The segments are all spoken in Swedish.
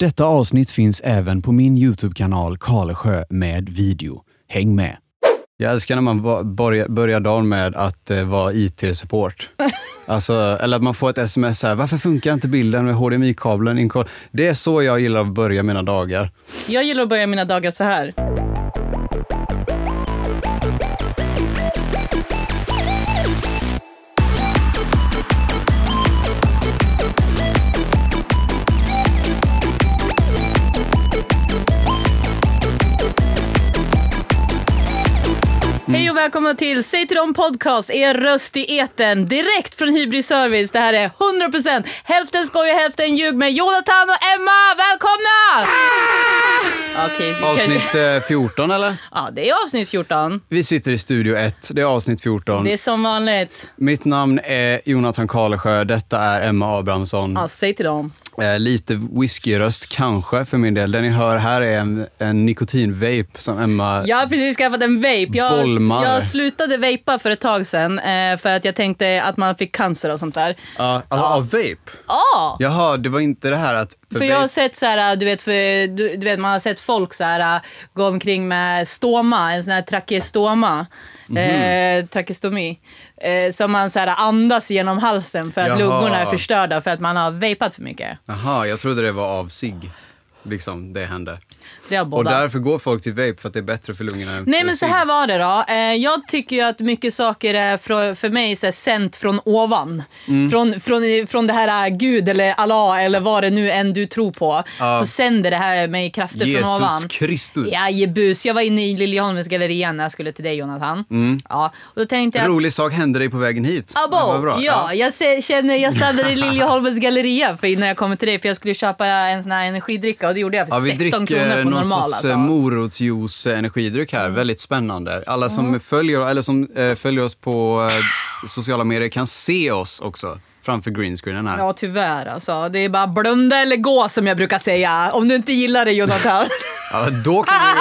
Detta avsnitt finns även på min YouTube-kanal Karlsjö med video. Häng med! Jag älskar när man va- börja- börjar dagen med att eh, vara IT-support. Alltså, eller att man får ett sms här, varför funkar inte bilden med HDMI-kabeln inkopplad? Det är så jag gillar att börja mina dagar. Jag gillar att börja mina dagar så här. Hej och välkomna till Säg till dem podcast, er röst i eten direkt från Hybris Service. Det här är 100% hälften skoj och hälften ljug med Jonathan och Emma. Välkomna! Okej, så kanske- Ah! Avsnitt eh, 14 eller? Ja, det är avsnitt 14. Vi sitter i studio 1, det är avsnitt 14. Det är som vanligt. Mitt namn är Jonathan Karlsjö, detta är Emma Abrahamsson. Ja, säg till dem. Eh, lite whiskyröst kanske för min del. Den ni hör här är en, en nikotinvape som Emma... Jag har precis skaffat en vape. Jag, Bolmar. jag slutade vejpa för ett tag sedan eh, för att jag tänkte att man fick cancer och sånt där. Ah! Ja, alltså, ja, vape? Ja! Jaha, det var inte det här att... För jag har sett så här, du vet, för, du, du vet man har sett folk så här, gå omkring med stoma, en sån här trakestoma. Mhm. Eh, trakestomi. Eh, som man så här, andas genom halsen för att Jaha. lungorna är förstörda för att man har vejpat för mycket. Jaha, jag trodde det var av sig. Liksom, det hände. Det har Och båda. därför går folk till vape, för att det är bättre för lungorna än Nej för men så cigg. här var det då. Eh, Jag tycker ju att mycket saker är för, för mig så här, sänt från ovan. Mm. Från, från, från det här eh, Gud eller Allah eller vad det nu än du tror på. Ja. Så sänder det här mig krafter från ovan. Jesus Kristus. Ja, ge bus. Jag var inne i Liljeholmens galleria när jag skulle till dig Jonathan. Mm. Ja, och då tänkte jag... Rolig sak hände dig på vägen hit. Abo, Det var bra. ja, jag se- känner, jag stannade i Liljeholmens galleria för innan jag kom till dig för jag skulle köpa en sån här energidricka och det gjorde jag för Ja, vi 16 kronor dricker på någon normal sorts eh, alltså. Mm. morotsjuice eh, energidryck här. Väldigt spännande. Alla som, följer, eller som eh, följer oss på eh, sociala medier kan se oss också framför greenscreenen här. Ja tyvärr alltså. Det är bara blunda eller gå som jag brukar säga. Om du inte gillar det Jonathan. Ja, då kan ni,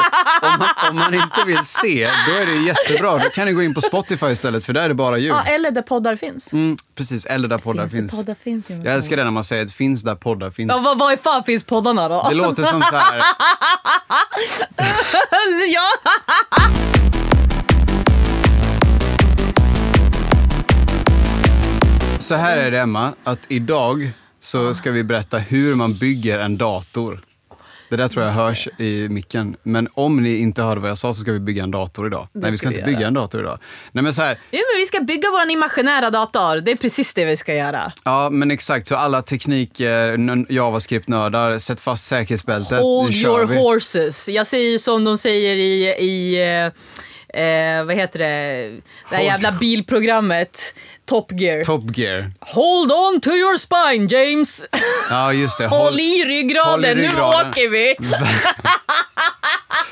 om, man, om man inte vill se, då är det jättebra. Då kan ni gå in på Spotify istället, för där är det bara ljud. ja, eller där poddar finns. Mm, precis, eller där poddar finns. det poddar finns Jonathan? Jag älskar det när man säger att finns där poddar finns. Ja, vad, vad i fan finns poddarna då? Det låter som så här... ja. Så här är det Emma, att idag så ska vi berätta hur man bygger en dator. Det där tror jag hörs i micken. Men om ni inte hörde vad jag sa så ska vi bygga en dator idag. Nej, vi ska, ska vi inte bygga göra. en dator idag. Nej, men så här, Jo, men vi ska bygga vår imaginära dator. Det är precis det vi ska göra. ja men exakt. Så alla teknik, eh, n- JavaScript-nördar, sätt fast säkerhetsbältet. Hold nu kör your vi. horses. Jag säger ju som de säger i, i eh, eh, vad heter det, det här Hold- jävla bilprogrammet Top Gear. Top gear. Hold on to your spine James! Ja, just det. Håll, Håll, i ryggraden, håll i ryggraden. nu åker vi!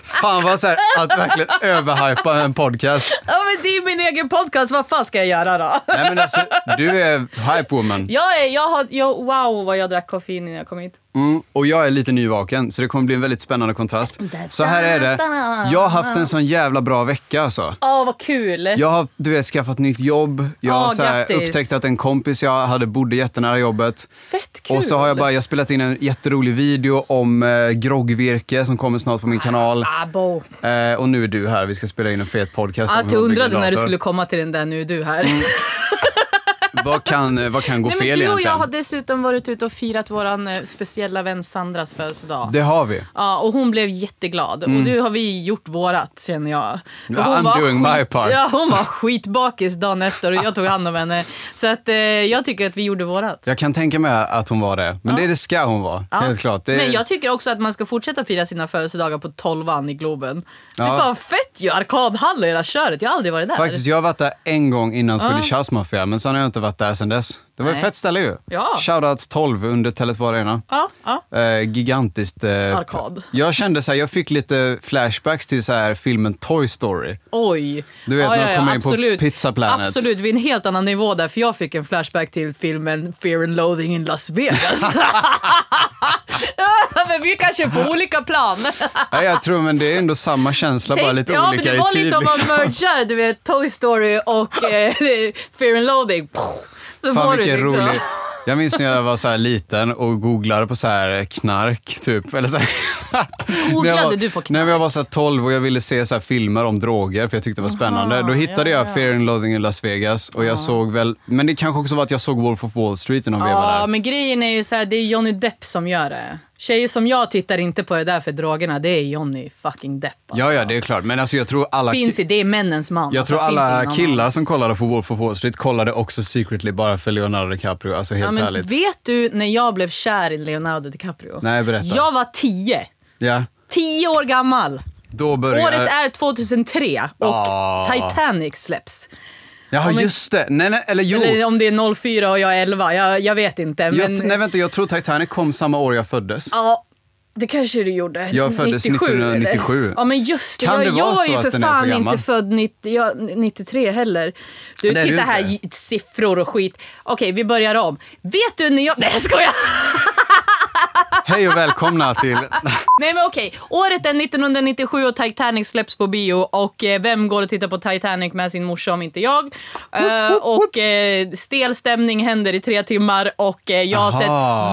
fan vad så här, att verkligen överhypa en podcast. Ja, men det är min egen podcast, vad fan ska jag göra då? Nej, men alltså, du är hype woman. Jag är, jag har, jag, wow vad jag drack koffein innan jag kom hit. Mm, och jag är lite nyvaken, så det kommer bli en väldigt spännande kontrast. Så här är det. Jag har haft en sån jävla bra vecka alltså. Åh vad kul! Jag har du vet, skaffat nytt jobb, jag har Ja, så här, grattis. upptäckt att en kompis jag hade bodde jättenära jobbet. Fett kul! Och så har jag bara jag har spelat in en jätterolig video om eh, groggvirke som kommer snart på min kanal. Abo. Eh, och nu är du här, vi ska spela in en fet podcast. om Att hur jag man bygger undrade när du dator. skulle komma till den där nu är du här. Mm. Vad kan, eh, vad kan gå Nej, fel men du och jag egentligen? har dessutom varit ute och firat vår speciella vän Sandras födelsedag. Det har vi. Ja, och hon blev jätteglad. Och nu har vi gjort vårat känner jag. För Ja, hon I'm var doing my part. Ja, hon var skitbakis dagen efter och jag tog hand om henne. Så att, eh, jag tycker att vi gjorde vårat. Jag kan tänka mig att hon var det, men det, det ska hon vara. Ja. Helt klart. Det, Men jag tycker också att man ska fortsätta fira sina födelsedagar på tolvan i Globen. Det Ja. är fan fett ju! Arkadhall och hela köret. Jag har aldrig varit där. Faktiskt, jag har varit där en gång innan Swedish House Mafia, men sen har jag inte varit där sen dess. Det var ju Nej. fett ställe ju. Ja. Shoutout 12 under Tele2 Arena. Ja, ja. Eh, gigantiskt. Eh, Arkad. Jag kände så här, jag fick lite flashbacks till så här filmen Toy Story. Oj! Du vet, när de kommer in på Pizza Planet. Absolut, vi är en helt annan nivå där. För jag fick en flashback till filmen Fear and Loathing in Las Vegas. men vi är kanske på olika plan. ja, jag tror, men det är ändå samma känsla, bara lite ja, olika men det var i tid. lite om man liksom. mergar, du vet, Toy Story och eh, Fear and Loathing. Så Fan får du vilken liksom. rolig. Jag minns när jag var så här liten och googlade på så här knark, typ. Eller så här. När jag var, Googlade du på knark? När jag var så här 12 och jag ville se så här filmer om droger, för jag tyckte det var spännande. Då hittade ja, jag ja. Fear and Loathing in Las Vegas. Och jag såg väl, men det kanske också var att jag såg Wolf of Wall Street innan vi var Ja, där. men grejen är ju så här, det är Johnny Depp som gör det. Tjejer som jag tittar inte på det där för drogerna, det är Johnny fucking Depp. Alltså. Ja, ja, det är klart. Men alltså, jag tror alla... ki- Finns i, det är männens man. Jag alltså, tror finns ingen alla annan. killar som kollade på Wolf of Wall Street kollade också secretly bara för Leonardo DiCaprio. Alltså helt ja, men ärligt. Vet du när jag blev kär i Leonardo DiCaprio? Nej, berätta. Jag var tio. Ja, Tio år gammal. då börjar... Året är 2003 och Ah. Titanic släpps. Jaha, men- just det. Nej, nej, eller jo. Eller om det är 04 och jag är 11, jag, jag vet inte. Men, jag, nej, vänta. Jag tror Titanic kom samma år jag föddes. Ja, det kanske du gjorde. Jag föddes 1997. eller? Ja, men just det. Kan jag det jag vara var så ju att för den är så fan gammal? inte född 90, ja, 93 heller. Du, Nej, det är titta du här, inte. j- siffror och skit. Okej, vi börjar om. Vet du när jag... Nej, jag skojar! Hej och välkomna till... Nej, men okej. Året är 1997 och Titanic släpps på bio. Och eh, vem går och tittar på Titanic med sin morsa om inte jag? Eh, och eh, stel stämning händer i tre timmar och eh, jag har Aha.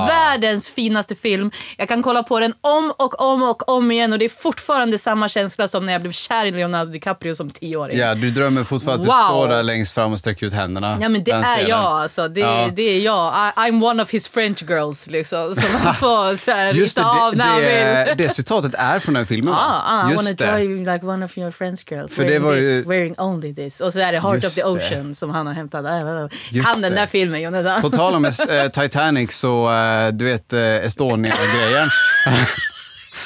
sett världens finaste film. Jag kan kolla på den om och om och om igen och det är fortfarande samma känsla som när jag blev kär i Leonardo DiCaprio som tioåring. Ja, du drömmer fortfarande att Wow. du står där längst fram och sträcker ut händerna. Ja men det Den är scenen. jag alltså. Det, Ja. det är jag. I, I'm one of his French girls liksom. Som han får så här, Just det, rita av när han det, vill. det, det citatet är från den filmen. va? Ah, ah, I wanna just try det. you like one of your friends girl. För wearing det var ju- this, wearing only this. Och så är det Heart of Just the det. Ocean som han har hämtat. Ah, ah, ah. Just Kan den det. där filmen Jonathan? På tal om eh, Titanic så, eh, du vet eh, Estonia-grejen.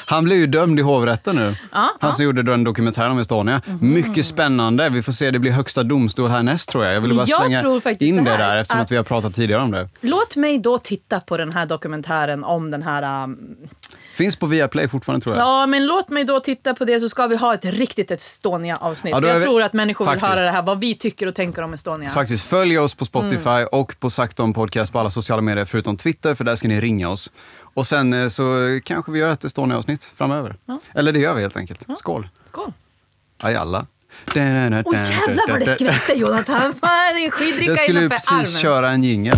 Han blev ju dömd i hovrätten nu. Ah, Han som gjorde den dokumentären om Estonia. Mhm. Mycket spännande. Vi får se, det blir högsta domstol härnäst tror jag. Jag ville bara Jag slänga tror faktiskt in så det här, där eftersom att, att- vi har pratat tidigare om det. Låt mig då titta på den här dokumentären om den här... um, Finns på Viaplay fortfarande tror jag. ja, men låt mig då titta på det så ska vi ha ett riktigt Estonia-avsnitt. Ja, då För jag är vi- tror att människor vill Faktiskt. höra det här, vad vi tycker och tänker om Estonia. Faktiskt, följ oss på Mm. Spotify och på Sakton Podcast på alla sociala medier förutom Twitter för där ska ni ringa oss. Och sen eh, så kanske vi gör ett Estonia-avsnitt framöver. Eller det gör vi helt enkelt. Skål! Skål. Aj alla. Åh Eh, Åh jävlar vad det skvätte Jonathan! Fan, det är en Jag skidricka skulle ju innanför precis armen. köra en jingel.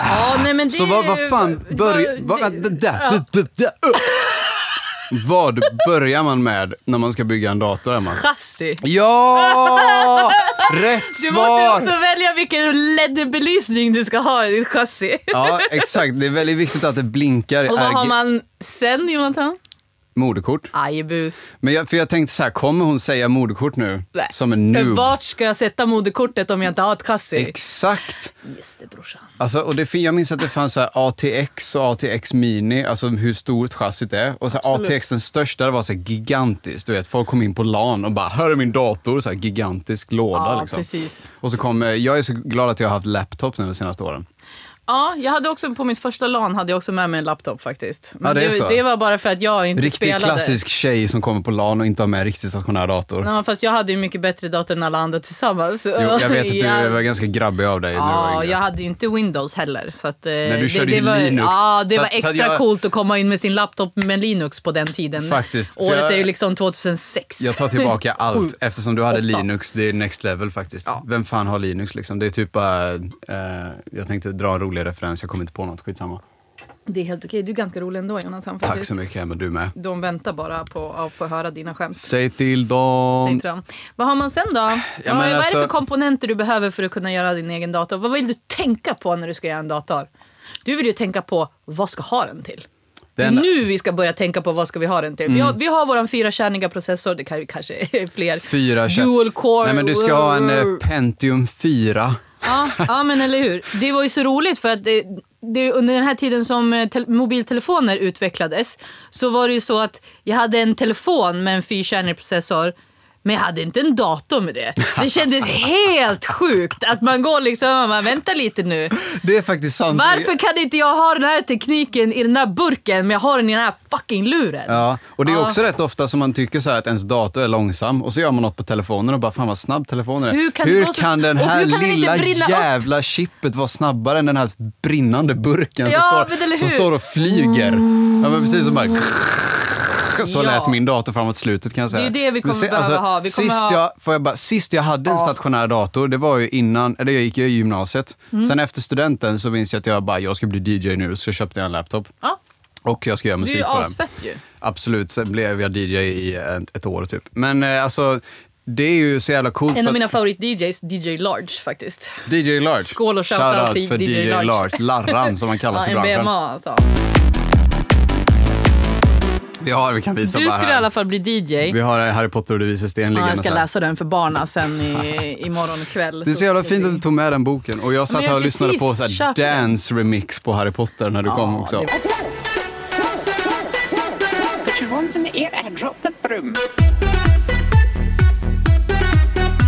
Ja, nej, men det Så är vad, ju- vad fan börjar... det- Vad, vad- det där, ja. det- det där, upp. vad börjar man med när man ska bygga en dator, Emma? Chassi. Ja! Rätt Du måste svar! också välja vilken LED-belysning du ska ha i ditt chassi. Ja, exakt. Det är väldigt viktigt att det blinkar i Och vad har RG man sen, Jonathan? moderkort. Ajebus. Men jag, för jag tänkte så här, kommer hon säga moderkort nu? Nej. Som en För noob. vart ska jag sätta moderkortet om jag inte har ett chassi? Exakt! Just det, brorsan. Alltså, och det, fin- jag minns att det fanns så här ATX och ATX Mini, alltså hur stort chassit är. Och så här Absolut. ATX, den största, det var så här gigantiskt. Du vet, folk kom in på LAN och bara “Här är min dator”, så här gigantisk låda. Ja, liksom. precis. Och så kom, eh, jag är så glad att jag har haft laptop nu de senaste åren. Ja, jag hade också på mitt första LAN hade jag också med mig en laptop faktiskt. Men Ja, det är så. det var bara för att jag inte Riktig spelade. klassisk tjej som kommer på LAN och inte har med riktigt stationär dator. Ja, fast jag hade ju mycket bättre dator än alla andra tillsammans. Jo, jag vet att du Ja. var ganska grabbig av dig när du var Ja, yngre. jag hade ju inte Windows heller. Så att, Nej, du körde ju var, Linux. Ja, det Så var att- så extra att jag- coolt att komma in med sin laptop med Linux på den tiden. Faktiskt. Så Året jag- är ju liksom 2006. Jag tar tillbaka allt eftersom du hade åtta. Linux. Det är next level faktiskt. Vem fan har Linux liksom? Det är typ bara... Eh, jag tänkte dra en rolig referens, jag kommer inte på något. Skitsamma. Det är helt okej, du är ganska rolig ändå Jonathan. Tack faktiskt. så mycket Emma, du med. De väntar bara på att få höra dina skämt. Säg till dem. säger de. Vad har man sen då? Ja, men vad är det alltså- för komponenter du behöver för att kunna göra din egen dator? Vad vill du tänka på när du ska göra en dator? Du vill ju tänka på vad ska ha den till? Det är Den- Mm. nu vi ska börja tänka på vad ska vi ha den till. Vi har, vi har våran fyrakärniga processor, det kan- kanske är fler. Fyra kö- Dual core. uh, Nej men du ska ha en eh, Pentium 4. Ja, ja, men eller hur. Det var ju så roligt för att det, det, under den här tiden som eh, te- mobiltelefoner utvecklades så var det ju så att jag hade en telefon med en fyrkärnig processor men jag hade inte en dator med det. Det kändes helt sjukt att man går liksom och bara, vänta lite nu. Det är faktiskt sant. Varför kan inte jag ha den här tekniken i den här burken men jag har den i den här fucking luren? Ja, och det är Ja. också rätt ofta som man tycker så här att ens dator är långsam och så gör man något på telefonen och bara fan vad snabb telefonen är. Hur kan det vara så- kan den och hur här kan den inte lilla brinna upp? jävla chippet vara snabbare än den här brinnande burken Ja, som, men eller står, som hur? Mm. står och flyger? Ja men precis som bara... Så Ja. lät min dator framåt slutet kan jag säga. Det är det vi kommer Men se- alltså, behöva ha. Vi kommer sist, ha- jag, får jag bara, sist jag hade en stationär dator, det var ju innan, eller jag gick ju i gymnasiet. Mm. Sen efter studenten så minns jag att jag bara, jag ska bli DJ nu, så köpte jag en laptop. Ja, Och jag ska göra du är musik ju på den. asfett ju. Absolut, sen blev jag DJ i ett, ett år typ. Men eh, alltså, det är ju så jävla coolt. En för av att- mina favorit-DJs, DJ Large faktiskt. DJ Lark. Skål och shoutout Shoutout till för DJ DJ Lark. Lark. Larran som han kallas i Ja, branschen. en BMA alltså. Vi har, vi kan visa Du bara skulle i här. alla fall bli DJ. Vi har eh, Harry Potter och det vises sten Ja, jag liggandes ska här. läsa den för barna sen i, imorgon kväll. Det är så jävla fint vi- att du tog med den boken. Och jag satt jag här och precis lyssnade på så här köpte den. dance remix på Harry Potter när du kom också. det- Adults, adults, adults, adults, adults. Put your ones in the air and drop the broom.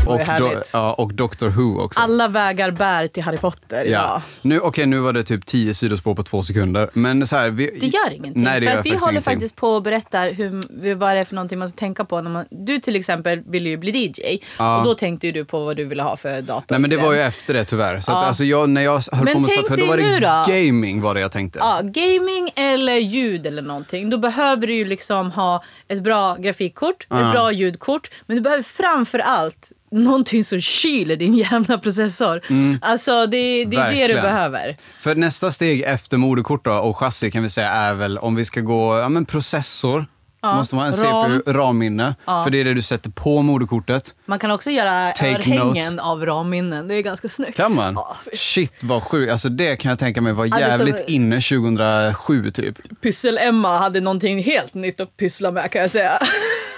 var ju och, härligt. ja, och Doctor Who också. Alla vägar bär till Harry Potter Ja. idag. Nu, okej, nu var det typ 10 sidospår på två sekunder. Men så här, vi, Det gör ingenting. Nej, det för gör att vi faktiskt håller ingenting. faktiskt på och berättar hur, vad det är för någonting man ska tänka på. När man, du till exempel ville ju bli DJ. Ja. Och då tänkte ju du på vad du ville ha för dator. Nej, men det till var ju den. efter det tyvärr. Så att, Ja. alltså, jag, när jag höll Men på med tänk statue, dig då var det nu då. gaming var det jag tänkte. Ja, gaming eller ljud eller någonting. Då behöver du ju liksom ha ett bra grafikkort, ett Ja. bra ljudkort. Men du behöver framför allt någonting som kyler din jävla processor. Alltså det, det är det du Mm. Verkligen. behöver. För nästa steg efter moderkort då, och chassi kan vi säga är väl om vi ska gå, ja men processor. Ja, Måste man ha en ram. CPU, RAM-minne. Ja. För det är det du sätter på moderkortet. Man kan också göra Take örhängen notes. av RAM-minnen. Det är ganska snyggt. Kan man? Ja, visst. Shit vad sjukt. Alltså det kan jag tänka mig var Ja, det är jävligt som- inne 2007 typ. Pyssel-Emma hade någonting helt nytt att pyssla med kan jag säga.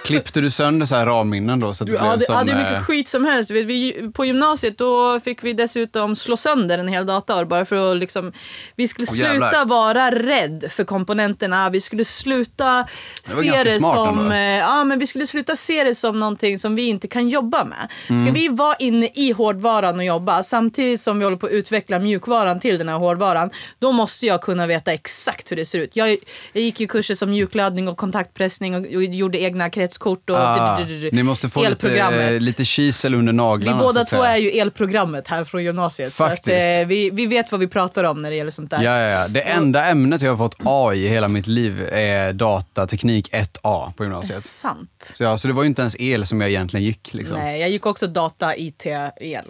Klippte du sönder så här RAM-minnen då? Så att Du det blev hade, som, hade ju mycket eh, skit som helst. Vi- Vi, på gymnasiet då fick vi dessutom slå sönder en hel dator bara för att liksom... Vi skulle Åh, jävlar. sluta vara rädd för komponenterna. Vi skulle sluta Det var se ganska det smart som... ändå. eh, Ja, men vi skulle sluta se det som någonting som vi inte kan jobba med. Mm. Ska vi vara inne i hårdvaran och jobba samtidigt som vi håller på att utveckla mjukvaran till den här hårdvaran, då måste jag kunna veta exakt hur det ser ut. Jag, jag gick ju kurser som mjukladdning och kontaktpressning och, och gjorde egna kretskort och ah, du- du- du- du- Ni måste få lite, elprogrammet. eh, lite kisel under vi naglarna. så båda att två säga. är ju elprogrammet här från gymnasiet. Så att, Faktiskt. eh, vi, vi vet vad vi pratar om när det gäller sånt där. Ja, ja, ja. Det Mm. enda ämnet jag har fått A i hela mitt liv är datateknik 1A på Det är gymnasiet. sant. Så, ja, så det var ju inte ens el som jag egentligen gick. Liksom. Mm. Nej, jag gick också data, IT, el.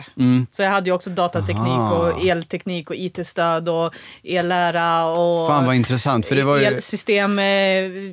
Så jag hade ju också datateknik Aha. och elteknik och IT-stöd och ellära och Fan vad intressant. För det var ju... elsystem, eh,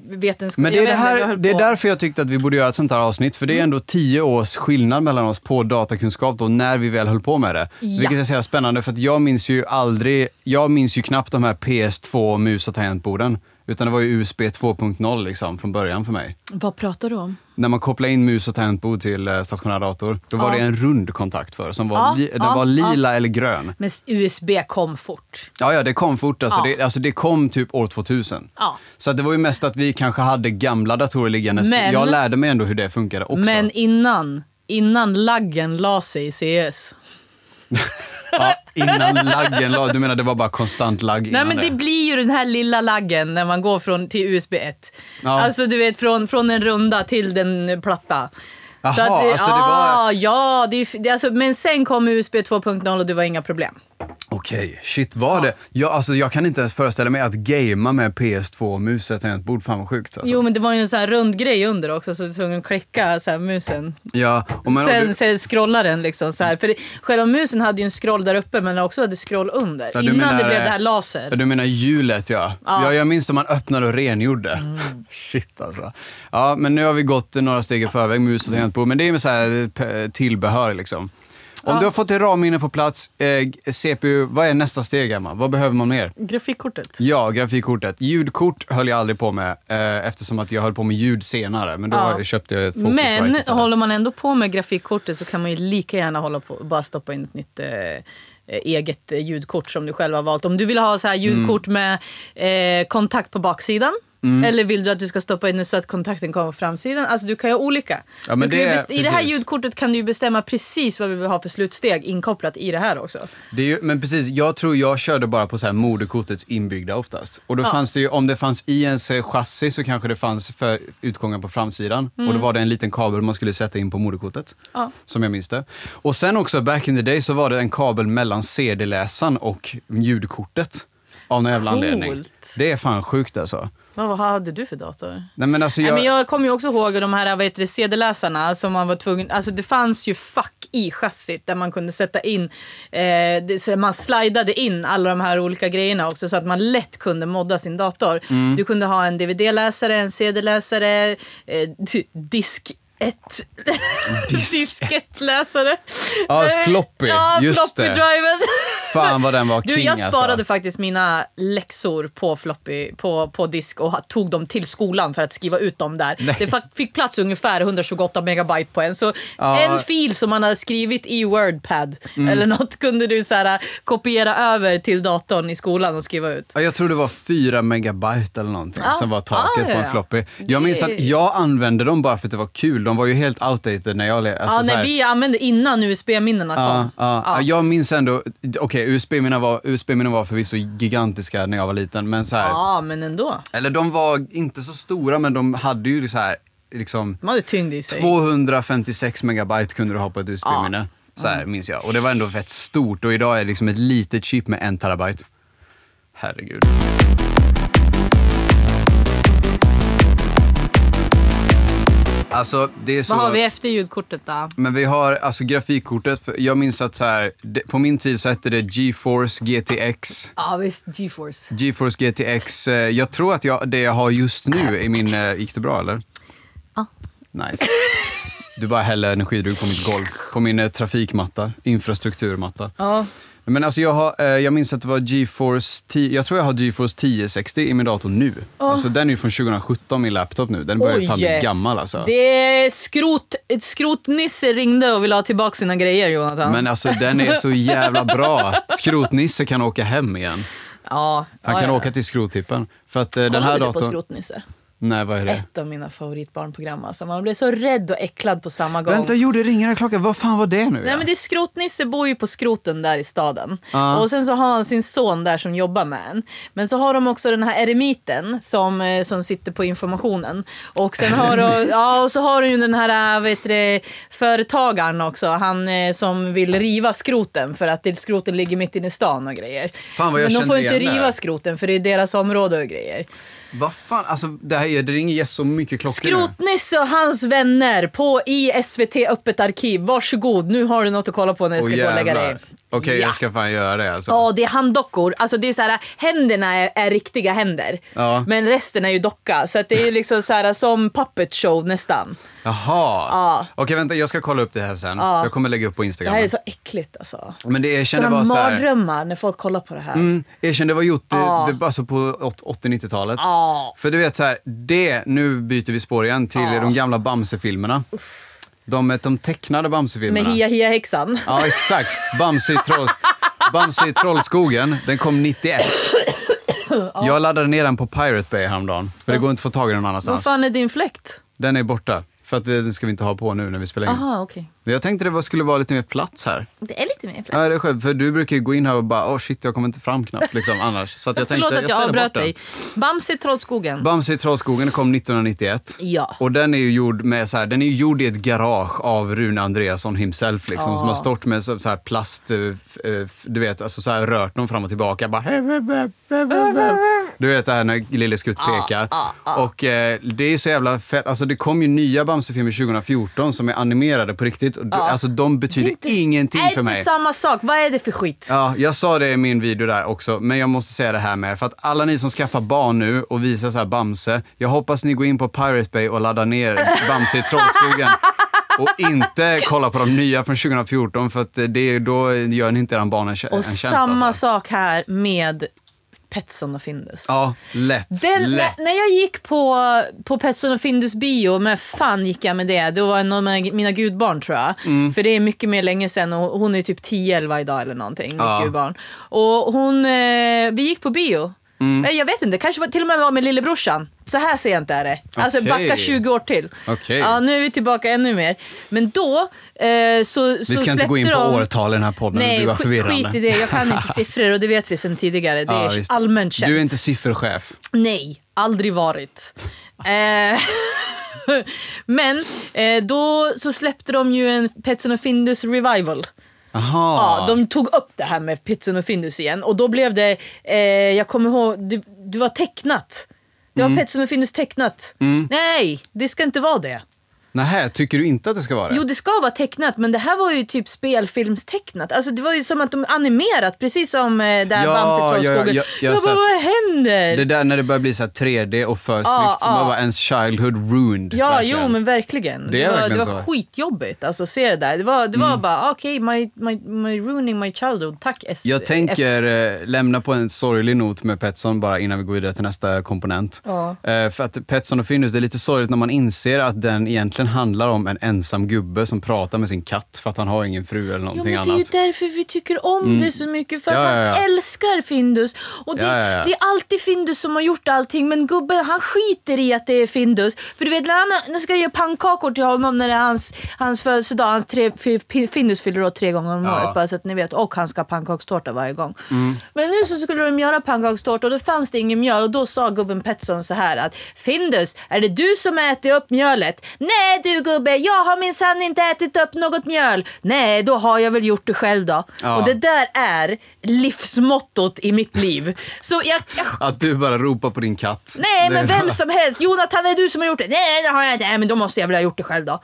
vetenskap. Men det Jag är, det, vet inte, jag här, höll det är på. Mm. därför jag tyckte att vi borde göra ett sånt här avsnitt. För det är ändå tio års skillnad mellan oss på datakunskap då, när vi väl höll på med det. Ja. Vilket är så jävla spännande för att jag minns ju aldrig, jag minns ju knappt de här PS2 mus och tangentborden. Utan det var ju USB 2.0 liksom från början för mig. Vad pratar du om? när man kopplade in mus och tangentbord till eh, stationär dator, då var Ja. det en rund kontakt för som var, Ja, li, den ja, var lila eller grön. Men USB kom fort. Ja, ja, det kom fort. Alltså, Ja. det, alltså, det kom typ år 2000. Ja. Så att det var ju mest att vi kanske hade gamla datorer liggandes. Men- jag lärde mig ändå hur det funkade också. Men innan, innan laggen la sig i CS. Ja, innan laggen la... Du menar det var bara konstant lagg Nej innan men det blir ju den här lilla laggen när man går från, till USB 1. Ja. Alltså du vet från, från den runda till den eh, platta. Jaha, Så eh, alltså, det var- ah, Ja, det är, ju f- det, är alltså, men sen kom USB 2.0 och det var inga problem. Okej, shit var det? Jag, alltså, jag kan inte ens föreställa mig att gamea med PS2 mus och tangentbord. Fan vad sjukt alltså. Jo men det var ju en sån här rund grej under också så du var tvungen att klicka så här, musen. Ja, och men, sen, du, sen scrollar den liksom så här. För det, själva musen hade ju en scroll där uppe men också hade scroll under. Ja, du Innan det menar, blev det eh, här laser. Ja, du menar hjulet ja. ja. Jag minns när man öppnade och rengjorde. Mm. Shit alltså. Ja, men nu har vi gått några steg i förväg, mus och tangentbord. Men det är med så här eh, p- tillbehör liksom. Om du har fått ditt RAM inne på plats, eh, CPU, vad är nästa steg Emma? Vad behöver man mer? Grafikkortet. Ja, grafikkortet. Ljudkort höll jag aldrig på med eh, eftersom att jag höll på med ljud senare. Men då Ja. köpte jag ett Focusrite Men istället. håller man ändå på med grafikkortet så kan man ju lika gärna hålla på bara stoppa in ett nytt eh, eh, eget eh, ljudkort som du själv har valt. Om du vill ha så här ljudkort Mm. med eh, kontakt på baksidan eller vill du att du ska stoppa in det så att kontakten kommer på framsidan? Alltså du kan göra olika. Ja, men du kan ju det- best- I det här precis. ljudkortet kan du ju bestämma precis vad vi vill ha för slutsteg inkopplat i det här också. Det är ju, men precis, jag tror jag körde bara på så här moderkortets inbyggda oftast. Och då Ja. fanns det ju, om det fanns i ens eh, chassi så kanske det fanns för utgången på framsidan. Och då var det en liten kabel man skulle sätta in på moderkortet. Mm. Ja. Som jag minns det. Och sen också back in the day så var det en kabel mellan CD-läsaren och ljudkortet. Av någon jävla anledning. Coolt. Det är fan sjukt alltså. Men vad hade du för dator? Nej men alltså Jag, jag... men jag kommer ju också ihåg de här vad heter det, sedeläsarna som man var tvungen... Alltså det fanns ju fack i chassit där man kunde sätta in... Eh, det, så man slidade in alla de här olika grejerna också så att man lätt kunde modda sin dator. Mm. Du kunde ha en DVD-läsare, en CD-läsare, eh, d- disk... Ett Disk- diskettläsare. Ja, Eh, floppy. Ja, Just floppy det. driven. Fan vad den var Du, king jag sparade alltså. faktiskt mina läxor på floppy, på, på disk och ha- tog dem till skolan för att skriva ut dem där. Det fa- fick plats ungefär 128 megabyte på en. Så Ja. Mm. en fil som man hade skrivit i Wordpad eller något kunde du så här, äh, kopiera över till datorn i skolan och skriva ut. Ja, jag tror det var fyra megabyte eller någonting Ja. som var taket Ja, ja, på ja. en floppy. Jag minns Det- att jag använde dem bara för att det var kul. De var ju helt outdated när jag... le- Alltså, ja, så nej, här- vi använde innan USB-minnena kom. Ja, ja, Ja. ja. Jag minns ändå, okej USB-minnen var, USB var förvisso gigantiska när jag var liten, men så här, ja, men ändå. eller de var inte så stora men de hade ju så här, liksom De hade tyngd i sig. 256 megabyte kunde du ha på ett USB-minne. Så här minns jag. Och det var ändå rätt stort och idag är det liksom ett litet chip med en terabyte. Herregud. Alltså, det är så... Vad har vi efter ljudkortet då? Men vi har alltså grafikkortet. för- Jag minns att så här, det- på min tid så hette det GeForce GTX. Ja, visst. GeForce. GeForce GTX. eh, Jag tror att jag, det jag har just nu i min... eh, Gick det bra eller? Ja. Nice. Du bara häller energidryck på mitt golv. På min eh, trafikmatta. Infrastrukturmatta. Ja. Men alltså jag, har, eh, jag minns att det var GeForce 10, jag tror jag har GeForce 1060 i min dator nu. Alltså den är ju från 2017 min laptop nu. Den börjar ju fan bli Oj. gammal alltså. Det skrot, ett skrotnisse ringde och ville ha tillbaka sina grejer Jonathan. Men alltså den är så jävla bra. Skrotnisse kan åka hem igen. ja, Han ja, kan ja. åka till skrottippen. För att eh, Kollar den här du på datorn... Skrotnisse? Nej, vad är det? Ett av mina favoritbarnprogram. Alltså. Man blir så rädd och äcklad på samma gång. Vänta, jo det ringer en klocka. Vad fan var det nu? Nej, men det är Skrotnisse bor ju på Skroten där i staden. Ja. Och sen så har han sin son där som jobbar med en. Men så har de också den här eremiten som, eh, som sitter på informationen. Och sen har de, ja, och så har de ju den här eh, vet du, det, företagaren också. Han eh, som vill riva skroten för att det, skroten ligger mitt inne i stan och grejer. Fan, vad jag men de känner får inte igen det här. riva skroten för det är deras område och grejer. Vad fan, alltså det, här, är- det ringer yes, så mycket klockor nu. Skrotnisse och hans vänner på i SVT Öppet arkiv. Varsågod, nu har du något att kolla på när du Åh, ska gå och lägga dig. jävlar. Okej, Ja. jag ska fan göra det alltså. Ja, det är handdockor. Alltså det är så här, händerna är, är riktiga händer. Ja. Men resten är ju docka. Så att det är ju liksom så här, som puppet show nästan. Jaha. Ja. Okej, vänta, jag ska kolla upp det här sen. Ja. Jag kommer lägga upp på Det Instagram. här är så äckligt alltså. Men det erkände Sådana var så här... mardrömmar när folk kollar på det här. Mm, erkände det var gjort det, Ja. det, alltså på åt- 80-90-talet. Ja. För du vet så här, det, nu byter vi spår igen till de gamla Bamse-filmerna. De, de tecknade Med Bamse-filmerna. Hia Hia Häxan. Ja, exakt. Bamse i, troll, Bamse i Trollskogen. Den kom 91. Jag laddade ner den på Pirate Bay häromdagen. För det går inte att få tag i den någon Vad annanstans. fan är din fläkt? Den är borta. För att eh, den ska vi inte ha på nu när vi spelar in. Aha, okej. Men Jag tänkte det var, skulle vara lite mer plats här. Det är lite mer fläkt. Ja, det är skönt. För du brukar ju gå in här och bara, åh shit, jag kommer inte fram knappt liksom annars. Så att jag Förlåt tänkte, att jag ställer avbröt bort den. dig. Bamse i Trollskogen. Bamse i Trollskogen kom 1991. Ja. Och den är ju gjord, med så här, den är ju gjord i ett garage av Rune Andreasson himself. Liksom, Ja. Som har stått med så, så här plast, eh, f- eh, f- du vet, alltså, så här, rört dem fram och tillbaka. Bara, du vet det här när Lille Skutt Ah, pekar. Och eh, det är så jävla fett. Alltså, det kom ju nya Bamse-filmer 2014 som är animerade på riktigt. Och, d- Alltså de Det betyder ingenting för Är mig. inte samma sak. Vad är det för skit? Ja, jag sa det i min video där också, men jag måste säga det här med. För att alla ni som skaffar barn nu och visar så här Bamse, jag hoppas ni går in på Pirate Bay och laddar ner Bamse i Trollskogen. Och inte kolla på de nya från 2014, för att det, är- då gör ni inte era barn en, tjä- en Och tjänst. samma alltså. sak här med Petson och Findus. Ja, lätt. Den, lätt. när jag gick på, på Petson och Findus bio, men fan gick jag med det? Det var en av mina, mina gudbarn tror jag. Mm. För det är mycket mer länge sedan och hon är typ 10-11 idag eller någonting. Mitt Ja. gudbarn. Och hon, eh, vi gick på bio. Mm. Eh, Jag vet inte, kanske var, till och med var med lillebrorsan. Så här sent är det. Alltså Okej. backa 20 år till. Okej. Ja, nu är vi tillbaka ännu mer. Men då eh, så, så Vi ska inte gå in på de... årtal i den här podden, det Nej, blir bara skit- förvirrande. skit i det. Jag kan inte siffror och det vet vi sedan tidigare. Det Ja, är visst. allmänt känt. Du är inte sifferchef. Nej, aldrig varit. Eh, Men eh, då så släppte de ju en Petson och Findus revival. Aha. Ja, de tog upp det här med Pitsen och Findus igen och då blev det, eh, jag kommer ihåg, det, det var tecknat. Det var Mm. Petsen och Findus tecknat. Nej, det ska inte vara det. Nähä, tycker du inte att det ska vara det? Jo, det ska vara tecknat, men det här var ju typ spelfilmstecknat. Alltså, det var ju som att de animerat, precis som eh, där Ja, Bamse tar av ja, ja, skogen. ja, jag jag bara, satt- vad händer? Det där när det börjar bli så här 3D och för Ja, snyggt. ja. Man bara, ens childhood ruined. Ja, verkligen. jo men verkligen. Det är var, verkligen det så. var Mm. skitjobbigt alltså, att se det där. Det var, det var bara, "Ah, okej, my, my, my ruining my childhood. Tack S. Jag F. tänker eh, lämna på en sorglig not med Petson bara innan vi går vidare till nästa komponent. Ja. Eh, för att Petson och Findus, det är lite sorgligt när man inser att den egentligen handlar om en ensam gubbe som pratar med sin katt för att han har ingen fru eller Jo, någonting men det är ju annat. Mm. därför vi tycker om det så mycket. För att Ja, ja, ja. han älskar Findus. Och det, Ja, ja, ja. det är alltid Findus som har gjort allting. Men gubben han skiter i att det är Findus. För du vet när han när jag ska ge pannkakor till honom när det är hans, hans födelsedag. Hans tre, fy- pi- Findus fyller år tre gånger om Ja. året bara så att ni vet. Och han ska ha pannkakstårta varje gång. Men nu så skulle de göra pannkakstårta och då fanns det ingen mjöl. Och då sa gubben Petson så här att Findus, är det du som äter upp mjölet? Nej du gubbe, jag har minsann inte ätit upp något mjöl. Nej, då har jag väl gjort det själv då. Ja. Och det där är livsmottot i mitt liv. Så jag, jag Att du bara ropar på din katt. Nej Det men är vem bara- som helst, Jonathan är det du som har gjort det? Nej det har jag inte, nej men då måste jag väl ha gjort det själv då. Åh,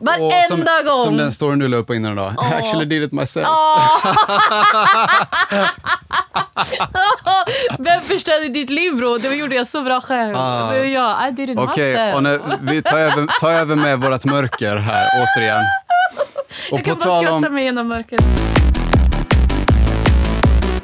som, Varenda gång! Som den storyn du la upp på innan idag. I actually did it myself. Vem förstörde ditt liv bro? Det gjorde jag så bra själv. Ah. Det var jag, I didn't Okej, myself. och nu- vi tar över, tar över med vårt mörker här återigen. Och jag kan bara skratta mig genom mörkret.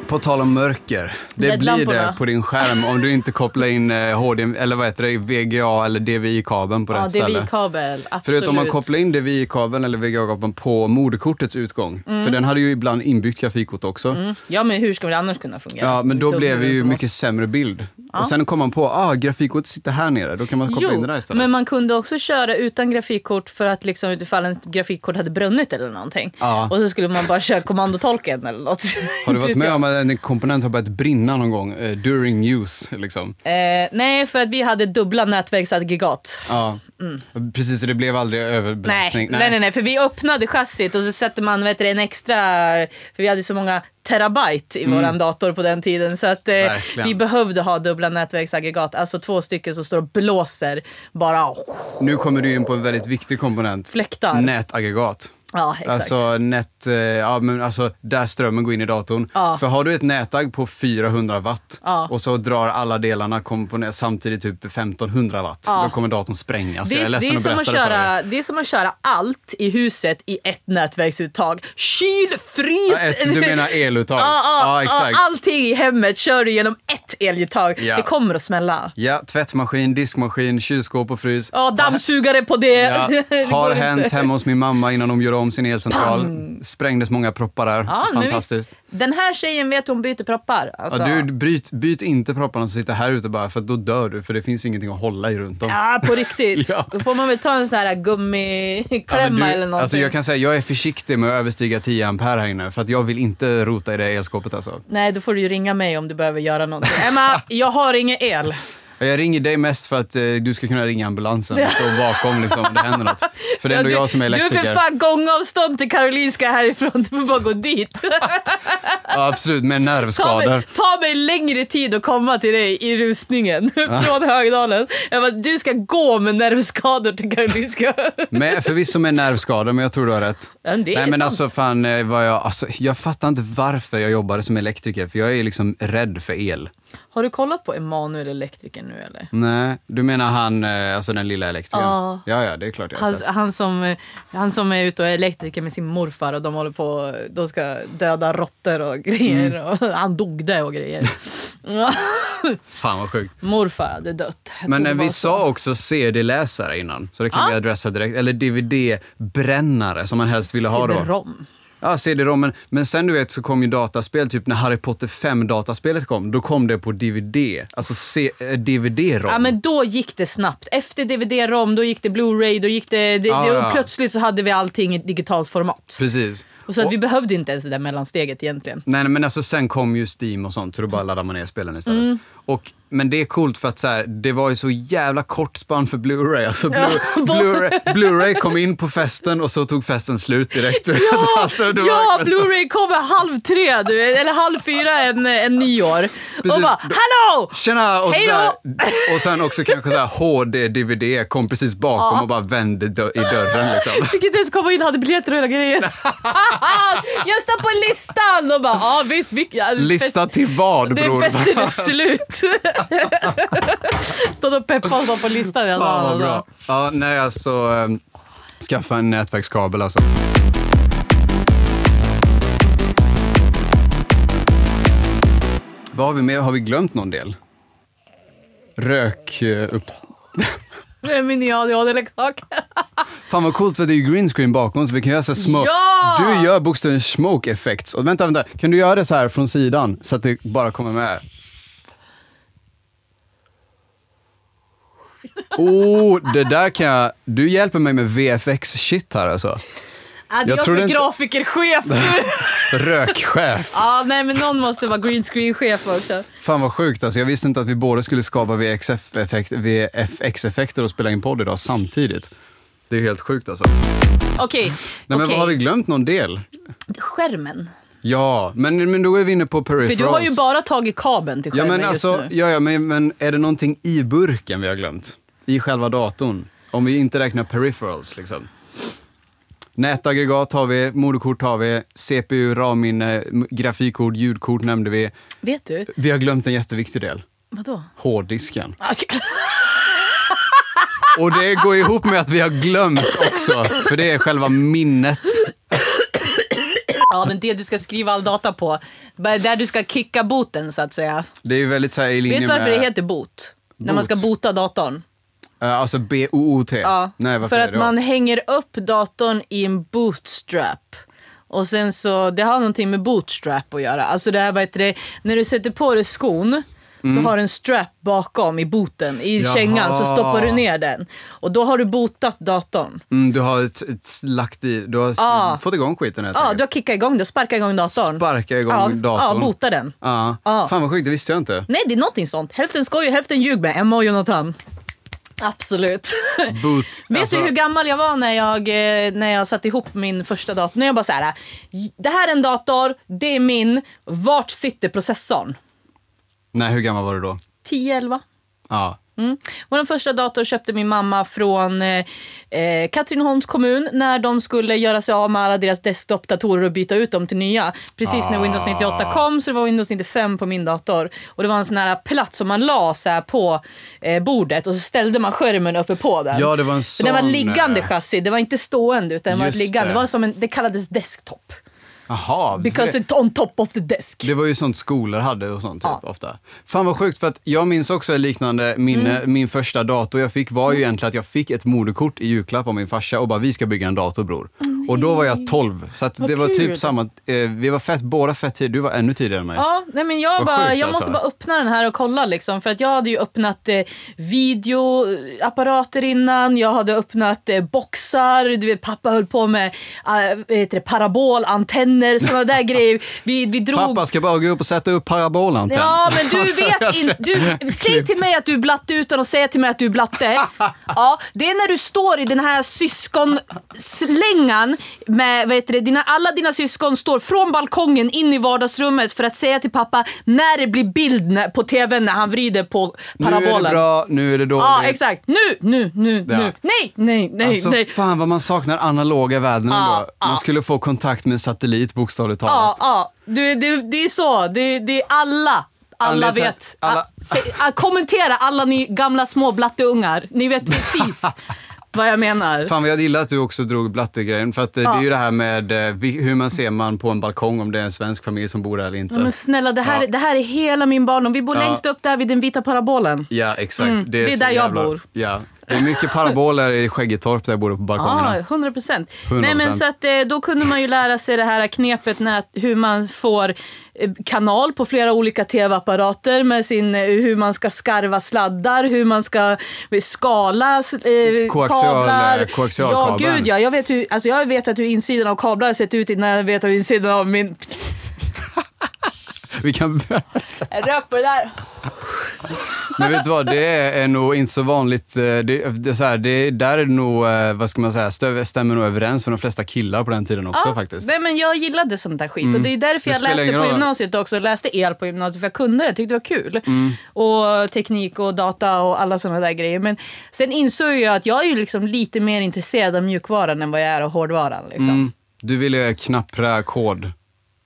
På tal om mörker. Det blir LED-lamporna. det på din skärm om du inte kopplar in eh, HDMI, eller vad heter det, VGA eller DVI-kabeln på Ja, rätt det är ställe. vi-kabel. Absolut. För att om man kopplar in DVI-kabeln eller VGA-kabeln på moderkortets utgång, Mm. för den hade ju ibland inbyggt grafikkort också. Ja men hur ska det annars kunna fungera? Ja, men då Dumma blev det ju som mycket oss. sämre bild. Och sen kom man på, ah, grafikkortet sitter här nere, då kan man koppla in det Jo, där istället. men man kunde också köra utan grafikkort för att liksom utifall en grafikkort hade brunnit eller någonting. Ja. Och så skulle man bara köra kommandotolken eller något. Har du varit Typ jag. med om att en komponent har börjat brinna någon gång, eh, during use liksom? Eh, nej, för att vi hade dubbla nätverksaggregat. Ja, Mm. precis. Så det blev aldrig Nej, överbelastning. nej. nej, nej, för vi öppnade chassit och så satte man vet du, en extra, för vi hade så många terabyte i våran dator på den tiden så att eh, Mm. Verkligen. vi behövde ha dubbla nätverksaggregat, alltså två stycken som står och blåser bara. Nu kommer du in på en väldigt viktig komponent. Fläktar. Nätaggregat. Ja, exakt. Alltså, nät, eh, ja, men alltså där strömmen går in i datorn. Ja. För har du ett nätagg på 400 watt Ja. och så drar alla delarna komponent, samtidigt typ 1500 watt, Ja. då kommer datorn sprängas. Det Alltså, Jag är, är det, ledsen är att som berätta att det för köra, er. det är som att köra allt i huset i ett nätverksuttag. Kyl, frys! Ja, ett, du menar eluttag? Ja, ja, ja, exakt. allting i hemmet kör du genom ett eluttag. Ja. Det kommer att smälla. Ja, tvättmaskin, diskmaskin, kylskåp och frys. Ja, dammsugare på det. Ja, Det går har inte. hänt hemma hos min mamma innan de gjorde om sin elcentral. Sprängdes många proppar där. Ja, nu Fantastiskt. visst. Den här tjejen vet hon byter proppar. Alltså. Ja, du, bryt, byt inte propparna som sitter här ute bara för att då dör du för det finns ingenting att hålla i runt om. Ja, på riktigt. Ja. Då får man väl ta en sån här Ja, men gummiklämma du, eller någonting. alltså jag kan säga jag är försiktig med att överstiga 10 ampere här inne för att jag vill inte rota i det elskåpet alltså. Nej, då får du ju ringa mig om du behöver göra någonting. Emma, jag har ingen el. Jag ringer dig mest för att eh, du ska kunna ringa ambulansen och stå bakom liksom, om det händer något. För det är ändå du, jag som är Du är elektriker. för fan gångavstånd till Karolinska härifrån. Du får bara gå dit. ja, absolut, med Ta mig, nervskador. ta mig längre tid att komma till dig i rusningen Ah. från Högdalen. Jag bara, du ska gå med nervskador till Karolinska. Med, förvisso med nervskada, men jag tror du har rätt. Ja, men det är Nej, men sant. alltså, fan, eh, vad jag, alltså, jag fattar inte varför jag jobbade som elektriker, för jag är liksom rädd för el. Har du kollat på Emanuel Elektriker nu eller? Nej, du menar han, eh, alltså den lilla elektrikern? Ja. Ja, ja, det är klart jag har Han, sett. han, som, han som är ute och är elektriker med sin morfar och de håller på de ska döda råttor och grejer. Mm. Och han dog där och grejer. Fan vad sjukt. morfar hade dött. Jag Men tror eh, det var vi så. sa också CD-läsare innan, så det kan Ja. vi adressa direkt. Eller DVD-brännare som man helst ville ha då. CD-ROM. Ja, CD-ROM. Men, men sen du vet så kom ju dataspel, typ när Harry Potter 5-dataspelet kom, då kom det på DVD. Alltså C- eh, DVD-ROM. Ja, men då gick det snabbt. Efter DVD-ROM, då gick det Blu-ray, då gick det... det, Ja, det ja. och plötsligt så hade vi allting i digitalt format. Precis. Och så att vi behövde inte ens det där mellansteget egentligen. Mm. Nej, nej, men alltså sen kom ju Steam och sånt, så då bara laddade man ner spelen istället. Och Men det är coolt för att så här, det var ju så jävla kort spann för Blu-ray. Alltså, Blu- Ja. Blu-ray, Blu-ray kom in på festen och så tog festen slut direkt. Ja, alltså, det var Ja, verkligen så. Blu-ray kommer halv tre, du, eller halv fyra en, en nyår. Och Precis. bara “Hallå!” Tjena! Och, Hej så då! här, och sen också kanske så här HD-DVD kom precis bakom Ja. och bara vände dö- i dörren. Liksom. Fick inte ens komma in, hade biljetter och hela grejen. jag står på listan! Och bara “Ja visst, vi, ja, Lista till vad Det är bror? festen är slut. Stod och peppade och stod på listan. Jag Fan bara, vad bra. Ja, nej alltså. ehm, Skaffa en nätverkskabel alltså. Vad har vi mer? Har vi glömt någon del? Rök eh, upp. Det är min nya ADHD-leksak. Fan vad coolt för det är ju green screen bakom så vi kan göra så smoke. Ja! Du gör bokstavligen smoke effects. Och vänta, vänta. Kan du göra det så här från sidan så att det bara kommer med? Oh, det där kan jag... Du hjälper mig med VFX-shit här alltså. Ja, det är Jag jag som trodde är inte- grafikerchef nu. Rökchef. Ja, nej, men någon måste vara green screen-chef också. Fan vad sjukt alltså. Jag visste inte att vi båda skulle skapa VFX-effekter VFX och spela in podd idag samtidigt. Det är helt sjukt alltså. Nej, Okej, men okej. har vi glömt någon del? skärmen. Ja, men, men då är vi inne på För peripherals. du har ju bara tagit kabeln till Ja, skärmen men alltså, just nu. ja, ja, men, men är det någonting i burken vi har glömt? I själva datorn? Om vi inte räknar peripherals liksom. Nätaggregat har vi, moderkort har vi, CPU, RAM-minne, m- grafikkort, ljudkort nämnde vi. Vet du? Vi har glömt en jätteviktig del. Vadå? Hårddisken. Och det går ihop med att vi har glömt också, för det är själva minnet. Ja, men det du ska skriva all data på. Bara Där du ska kicka boten, så att säga. Det är ju väldigt så här i linje Vet du varför med... det heter bot? När man ska Bot? bota datorn. eh, alltså B-O-O-T. Ja, Nej, varför för är att det då? man hänger upp datorn i en bootstrap. Och sen så, det har någonting med bootstrap att göra. Alltså det här, vad heter det, när du sätter på dig skon så har du en strap bakom i boten, i Mm. Jaha. kängan, så stoppar du ner den. Och då har du botat datorn. Mm, du har ett, ett, lagt i, du har s- Ja. fått igång skiten helt Ja, enkelt. du har kickat igång den, sparkat igång datorn. Sparka igång ja, datorn. Ja, bota den. Ja. Ja. Fan vad sjukt, det visste jag inte. Nej, det är någonting sånt. Hälften skoj och hälften ljug med Emma och Jonathan. Absolut. Boot. Vet alltså, du hur gammal jag var när jag, eh, när jag satte ihop min första dator? När jag bara så här, det här är en dator, det är min, vart sitter processorn? Nej, hur gammal var du då? 10-11. Ja. Mm. Vår första dator köpte min mamma från eh, eh, Katrineholms kommun när de skulle göra sig av med alla deras desktopdatorer och byta ut dem till nya. Precis när Ah. Windows 98 kom så det var Windows 95 på min dator. Och det var en sån här platt som man la så här på eh, bordet och så ställde man skärmen uppe på den. Ja, det var en För Den var sån, liggande eh, chassi, det var inte stående utan det var ett Just liggande. Det. det. var som en, det kallades desktop. Jaha. Because det, it's on top of the desk. det var ju sånt skolor hade och sånt typ, Ja. ofta. Fan vad sjukt, för att jag minns också ett liknande minne. Mm. Min första dator jag fick var ju egentligen att jag fick ett moderkort i julklapp av min farsa och bara vi ska bygga en dator bror. och då var jag 12, så att Vad det var kul. typ samma, eh, vi var fett, båda fett tidigt, du var ännu tidigare än mig. Ja, nej men jag, Vad bara, sjukt, jag alltså. måste bara öppna den här och kolla liksom. För att jag hade ju öppnat eh, videoapparater innan, jag hade öppnat eh, boxar, du vet, pappa höll på med eh, vad heter det, parabol, antenner, sådana där grejer. Vi, vi drog... Pappa ska bara gå upp och sätta upp parabolantenn. Ja, men du vet inte. Säg till mig att du är blatte utan att säga till mig att du är blatte. Ja, det är när du står i den här syskonslängan med vad heter det, dina, alla dina syskon står från balkongen in i vardagsrummet för att säga till pappa när det blir bild när- på tvn när han vrider på Nu är det parabolen. bra, nu är det dåligt. Ja, exakt. Nu, nu, nu, Ja. nu. Nej, nej, nej, Alltså nej. fan vad man saknar analoga världen Ja, ändå. Man skulle få kontakt med en satellit bokstavligt Ja, talat. ja. Du, du, det är så. Det, det är alla. Alla Anledningen till vet. att alla- Ah, se- ah, kommentera alla ni gamla små blatteungar. Ni vet precis vad jag menar. Fan vad jag gillar att du också drog blattegrejen. För att eh, det är ju det här med eh, vi- hur man ser man på en balkong om det är en svensk familj som bor där eller inte. Ja, men snälla, det här, Ja. det här är hela min barndom. Vi bor Ja. längst upp där vid den vita parabolen. Ja, exakt. Mm, det är så där jag bor. Ja. Det är mycket paraboler i Skäggetorp där jag bor på balkongerna. Ah, Ja, 100 procent. 100%. Nej men så att eh, då kunde man ju lära sig det här knepet när, att- hur man får eh, kanal på flera olika tv-apparater med sin, eh, hur man ska skarva sladdar, hur man ska eh, skala s- eh, kablar. Ja, koaxialkabeln. gud ja. Jag vet, hur, alltså, jag vet att hur insidan av kablar har sett ut innan jag vet hur insidan av min... Vi kan... Jag rök på det där. Men vet du vad, det är nog inte så vanligt. eh, Det, det, är så här, det, där är det nog, eh, vad ska man säga, stöv, stämmer nog överens för de flesta killar på den tiden också faktiskt. Mm. Nej, men jag gillade sånt där skit. Och Det är Det därför jag spelar läste ingen på roll. gymnasiet också. Jag läste el på gymnasiet för jag kunde det. tyckte det var kul. Mm. Och teknik och data och alla såna där grejer. Men sen insåg jag att jag är ju liksom lite mer intresserad av mjukvaran än vad jag är av hårdvaran. Liksom. Mm. Du ville knappra kod.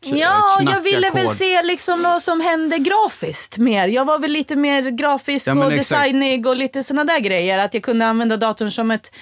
K- Ja, knacka jag ville väl kod. se liksom vad som hände grafiskt mer. Jag var väl lite mer grafisk Ja, men och exakt. designig och lite såna där grejer. Att jag kunde använda datorn som ett,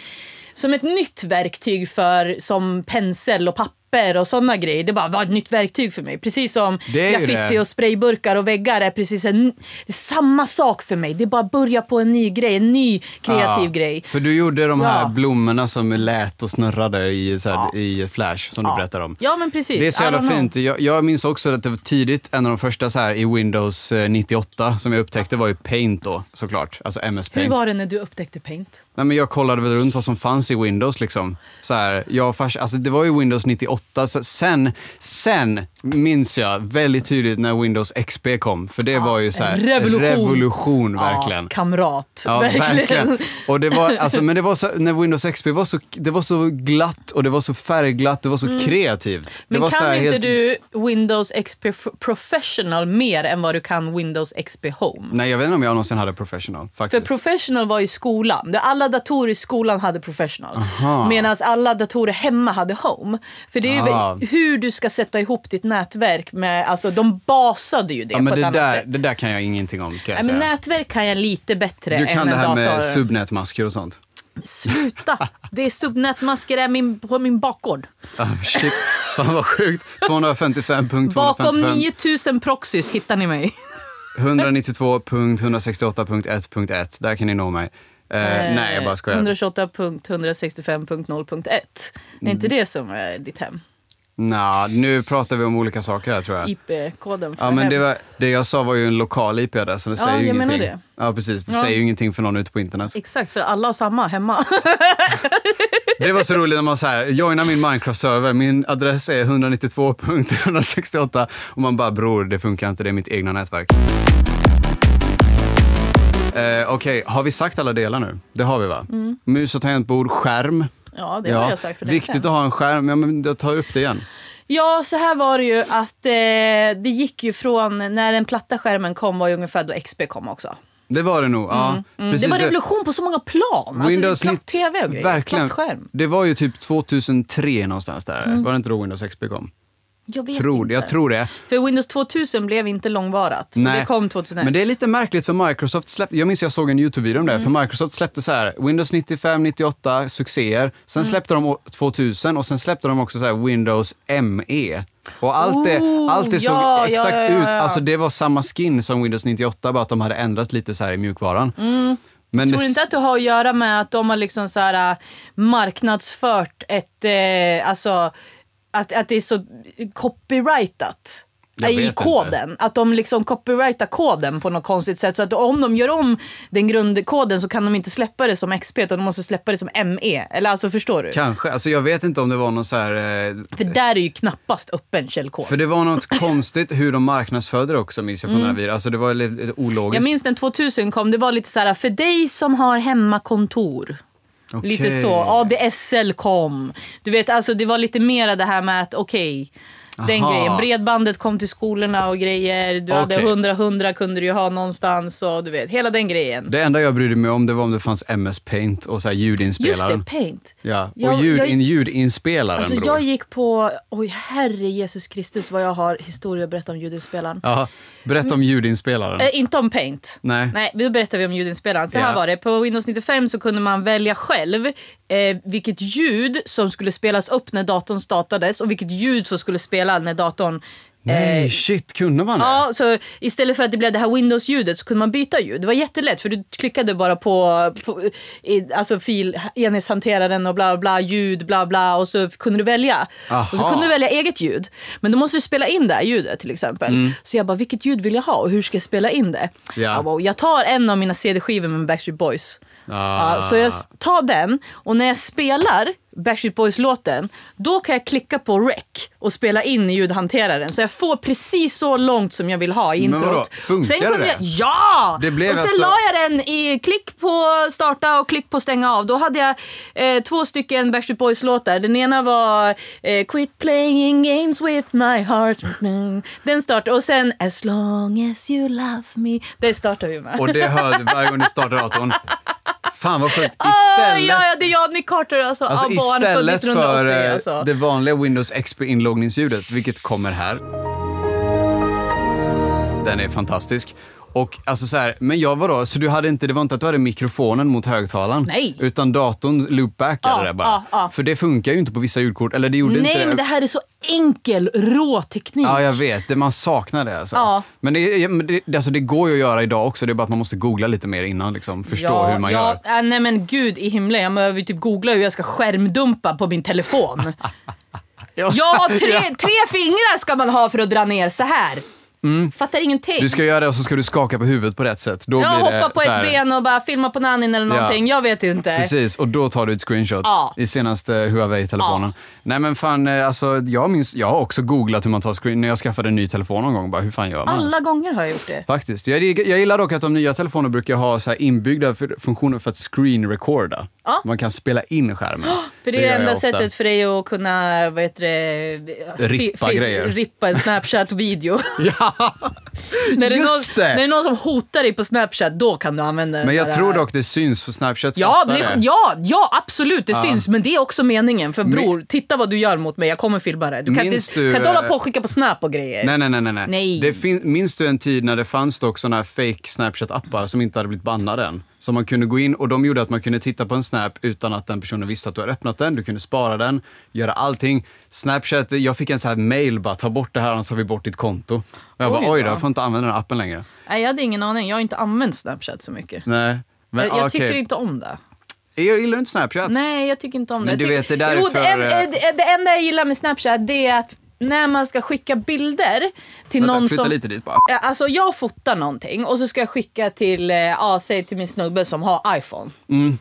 som ett nytt verktyg för som pensel och papper och såna grejer. Det bara var ett nytt verktyg för mig. Precis som Det är ju graffiti det. och sprayburkar och väggar är precis en, det är samma sak för mig. Det är bara att börja på en ny grej, en ny kreativ Ja, grej. För du gjorde de här Ja. blommorna som lät och snurrade i, så här, i Flash, som du berättade om. Ja, men precis. Det är så I jävla don't know. fint. Jag, jag minns också att det var tidigt, en av de första så här, i Windows eh, 98 som jag upptäckte var ju Paint då, såklart. Alltså MS Hur Paint. var det när du upptäckte Paint? Nej, men jag kollade väl runt vad som fanns i Windows. Liksom. Så här, jag och fars, alltså, det var ju Windows 98. Så sen, sen minns jag väldigt tydligt när Windows XP kom. För det var ju så här, en revolution. revolution, verkligen. Ja, kamrat. Ja, verkligen. Och det var, alltså, men det var så, när Windows XP var så, det var så glatt och det var så färgglatt, det var så kreativt. det Mm. Men var kan så här inte helt- du Windows XP Professional mer än vad du kan Windows XP Home? Nej, jag vet inte om jag någonsin hade professional. För Faktiskt. Professional var ju skolan. Det- Alla datorer i skolan hade Professional. Medan alla datorer hemma hade Home. För det är ju Ah. väl hur du ska sätta ihop ditt nätverk. Med, alltså, de basade ju det ja, på men ett det, annat där, sätt. det där kan jag ingenting om, kan jag Nej, men säga. nätverk kan jag lite bättre Du än kan det en här dator. med subnätmasker och sånt. Sluta! Det är subnätmasker är min, på min bakgård. Ah, shit. Fan vad sjukt. 255.255. Bakom 9000 proxys hittar ni mig. 192.168.1.1. Där kan ni nå mig. Eh, nej, jag bara skojar. 128.165.0.1. Är Mm. inte det som är ditt hem? Nå, nu pratar vi om olika saker här tror jag. IP-koden för Ja, men hem. det, var, det jag sa var ju en lokal IP där, så det Ja, säger ju jag menar ingenting. det. Ja, precis. Det Ja. säger ju ingenting för någon ute på internet. Exakt, för alla har samma hemma. Det var så roligt när man så här, joina min Minecraft-server, min adress är 192.168 och man bara bror, det funkar inte, det är mitt egna nätverk. Eh, Okej, har vi sagt alla delar nu? Det har vi va? Mus och tangentbord, skärm. Mm. Ja, det har jag sagt för länge Viktigt sedan. att ha en skärm, ja, men jag tar upp det igen. Ja, så här var det ju att eh, det gick ju från när den platta skärmen kom var ju ungefär då XP kom också. Det var det nog, ja. Mm. det Precis var revolution på så många plan. alltså, det är platt 90 tv och grejer. verkligen. Platt skärm. Det var ju typ 2003 någonstans där. Var det inte då Windows XP kom? Jag vet Tror, inte. jag tror det. För Windows 2000 blev inte långvarigt. Det kom 2001. Men det är lite märkligt för Microsoft släppte, jag minns jag såg en YouTube-video om det, Mm. för Microsoft släppte så här Windows 95, 98, succéer. Sen Mm. släppte de å- 2000 och sen släppte de också så här Windows ME. Och allt det, Ooh, allt det såg ja, ja, exakt ja, ja, ut, ja. alltså det var samma skin som Windows 98, bara att de hade ändrat lite så här i mjukvaran. Men Mm. Tror du inte att det har att göra med att de har liksom så här, äh, marknadsfört ett... Eh, alltså, att, att det är så copyrightat Jag i vet koden. Att de liksom copyrightar koden på något konstigt sätt. Så att om de gör om den grundkoden så kan de inte släppa det som XP utan de måste släppa det som ME. Eller alltså förstår du? Kanske, alltså jag vet inte om det var någon så här eh, För där är ju knappast öppen källkod. För det var något konstigt hur de marknadsförde det också minns jag från Mm. den här videon. Alltså det var lite lite Jag ologiskt. minns den 2000 kom, det var lite så här för dig som har hemmakontor. Okej. Lite så. ADSL kom. Du vet, alltså det var lite mera det här med att okej, den Aha. grejen. Bredbandet kom till skolorna och grejer. Du hade Okej. 100-100 kunde du ju ha någonstans och du vet, hela den grejen. Det enda jag brydde mig om det var om det fanns MS Paint och så här Just ljudinspelaren. det, paint. Ja, och Jag- ljud, jag- in, ljudinspelaren Alltså bror. jag gick på, oj herre Jesus Kristus vad jag har historia att berätta om ljudinspelaren. Ja, berätta om ljudinspelaren. Eh, inte om Paint. Nej. Nej, då berättar vi om ljudinspelaren. Så här Ja. var det. På Windows 95 så kunde man välja själv eh, vilket ljud som skulle spelas upp när datorn startades och vilket ljud som skulle spela när datorn... eh, Nej, shit, kunde man det? Ja, så istället för att det blev det här Windows-ljudet så kunde man byta ljud. Det var jättelätt för du klickade bara på, på i, alltså fil, enhetshanteraren och bla bla, ljud, bla bla och så kunde du välja. Aha. Och så kunde du välja eget ljud. Men då måste du spela in det här ljudet till exempel. Så jag bara, vilket ljud vill jag ha och hur ska jag spela in det? Mm. Ja. Jag, bara, jag tar en av mina CD-skivor med Backstreet Boys. Ah. Ja, så jag s- tar den och när jag spelar Backstreet Boys-låten, då kan jag klicka på rec och spela in i ljudhanteraren. Så jag får precis så långt som jag vill ha i Men vadå, introt. funkar sen kunde det? Jag, ja! Det blev och sen alltså- la jag den i klick på starta och klick på stänga av. Då hade jag eh, två stycken Backstreet Boys-låtar. Den ena var eh, Quit playing games with my heart. Mm. Den startar och sen As long as you love me. Det startar vi med. Och det hör du varje gång du startar datorn. Fan vad sjukt. Åh, Istället, Ah, ja, ja, det är Johnny Carter alltså. alltså, ah, barn från istället 1980 för eh, alltså. det vanliga Windows XP-inloggningsljudet, vilket kommer här. Den är fantastisk. Och alltså så här, men jag var då, så du hade inte, det var inte att du hade mikrofonen mot högtalaren? Nej. Utan datorn loopbackade Ja, det bara? ja, ja. För det funkar ju inte på vissa ljudkort, eller det gjorde inte Nej, men det här är så enkel, rå teknik. Ja, jag vet. Det, man saknar det. Alltså. Ja. Men, det, men det, det- alltså, det går ju att göra idag också. Det är bara att man måste googla lite mer innan. Liksom, förstå hur man ja, gör. äh, nej men gud i himlen, jag behöver ju typ googla hur jag ska skärmdumpa på min telefon. ja, tre, tre fingrar ska man ha för att dra ner så här. Fattar ingenting. Mm. Du ska göra det och så ska du skaka på huvudet på rätt sätt. Då jag blir det hoppar på så här, ett ben och bara filmar på nannin eller Ja. någonting, jag vet inte. Precis, och då tar du ett screenshot Ja. i senaste Huawei-telefonen. Nej men fan, eh, alltså, jag, minns, jag har också googlat hur man tar screen när jag skaffade en ny telefon någon gång. Bara, hur fan gör man? ens? Alla gånger har jag gjort det. Faktiskt. Jag, jag gillar dock att de nya telefonerna brukar ha så här inbyggda för, funktioner för att screen recorda. Ja. Man kan spela in skärmen. För det är det, gör jag enda ofta. sättet för dig att kunna, vad heter det, Rippa fi- fi- grejer. Rippa en Snapchat-video. Ja, när, det är just någon, det! när det är någon som hotar dig på Snapchat, då kan du använda den Men där- jag tror dock det syns på Snapchat. Ja, fattar det, det. ja, ja, absolut. Det syns. Men det är också meningen. För bror, Men- titta vad du gör mot mig. Jag kommer filma det. Du kan, Minns inte, du, kan inte hålla eh, på och skicka på Snap och grejer. Nej, nej, nej. nej, nej. Eh, Nej. Det fin- minns du en tid när det fanns dock såna här fake Snapchat-appar som inte hade blivit bannade än? Som man kunde gå in och de gjorde att man kunde titta på en Snap utan att den personen visste att du hade öppnat den. Du kunde spara den, göra allting. Snapchat, jag fick en så här mail bara, ta bort det här annars tar vi bort ditt konto. Och jag Oj bara, då. oj då, jag får inte använda den här appen längre. Nej, jag hade ingen aning. Jag har inte använt Snapchat så mycket. Nej. Men Eh, jag jag okej. tycker inte om det. Jag gillar inte Snapchat. Nej, jag tycker inte om Men det. du Jag vet, tycker- det där är jo, det, för, en- eh, eh, det, det enda jag gillar med Snapchat det är att när man ska skicka bilder till Vänta, någon flytta som... lite dit bara. Eh, Alltså jag fotar någonting och så ska jag skicka till, eh, ja, säg till min snubbe som har iPhone. Mm.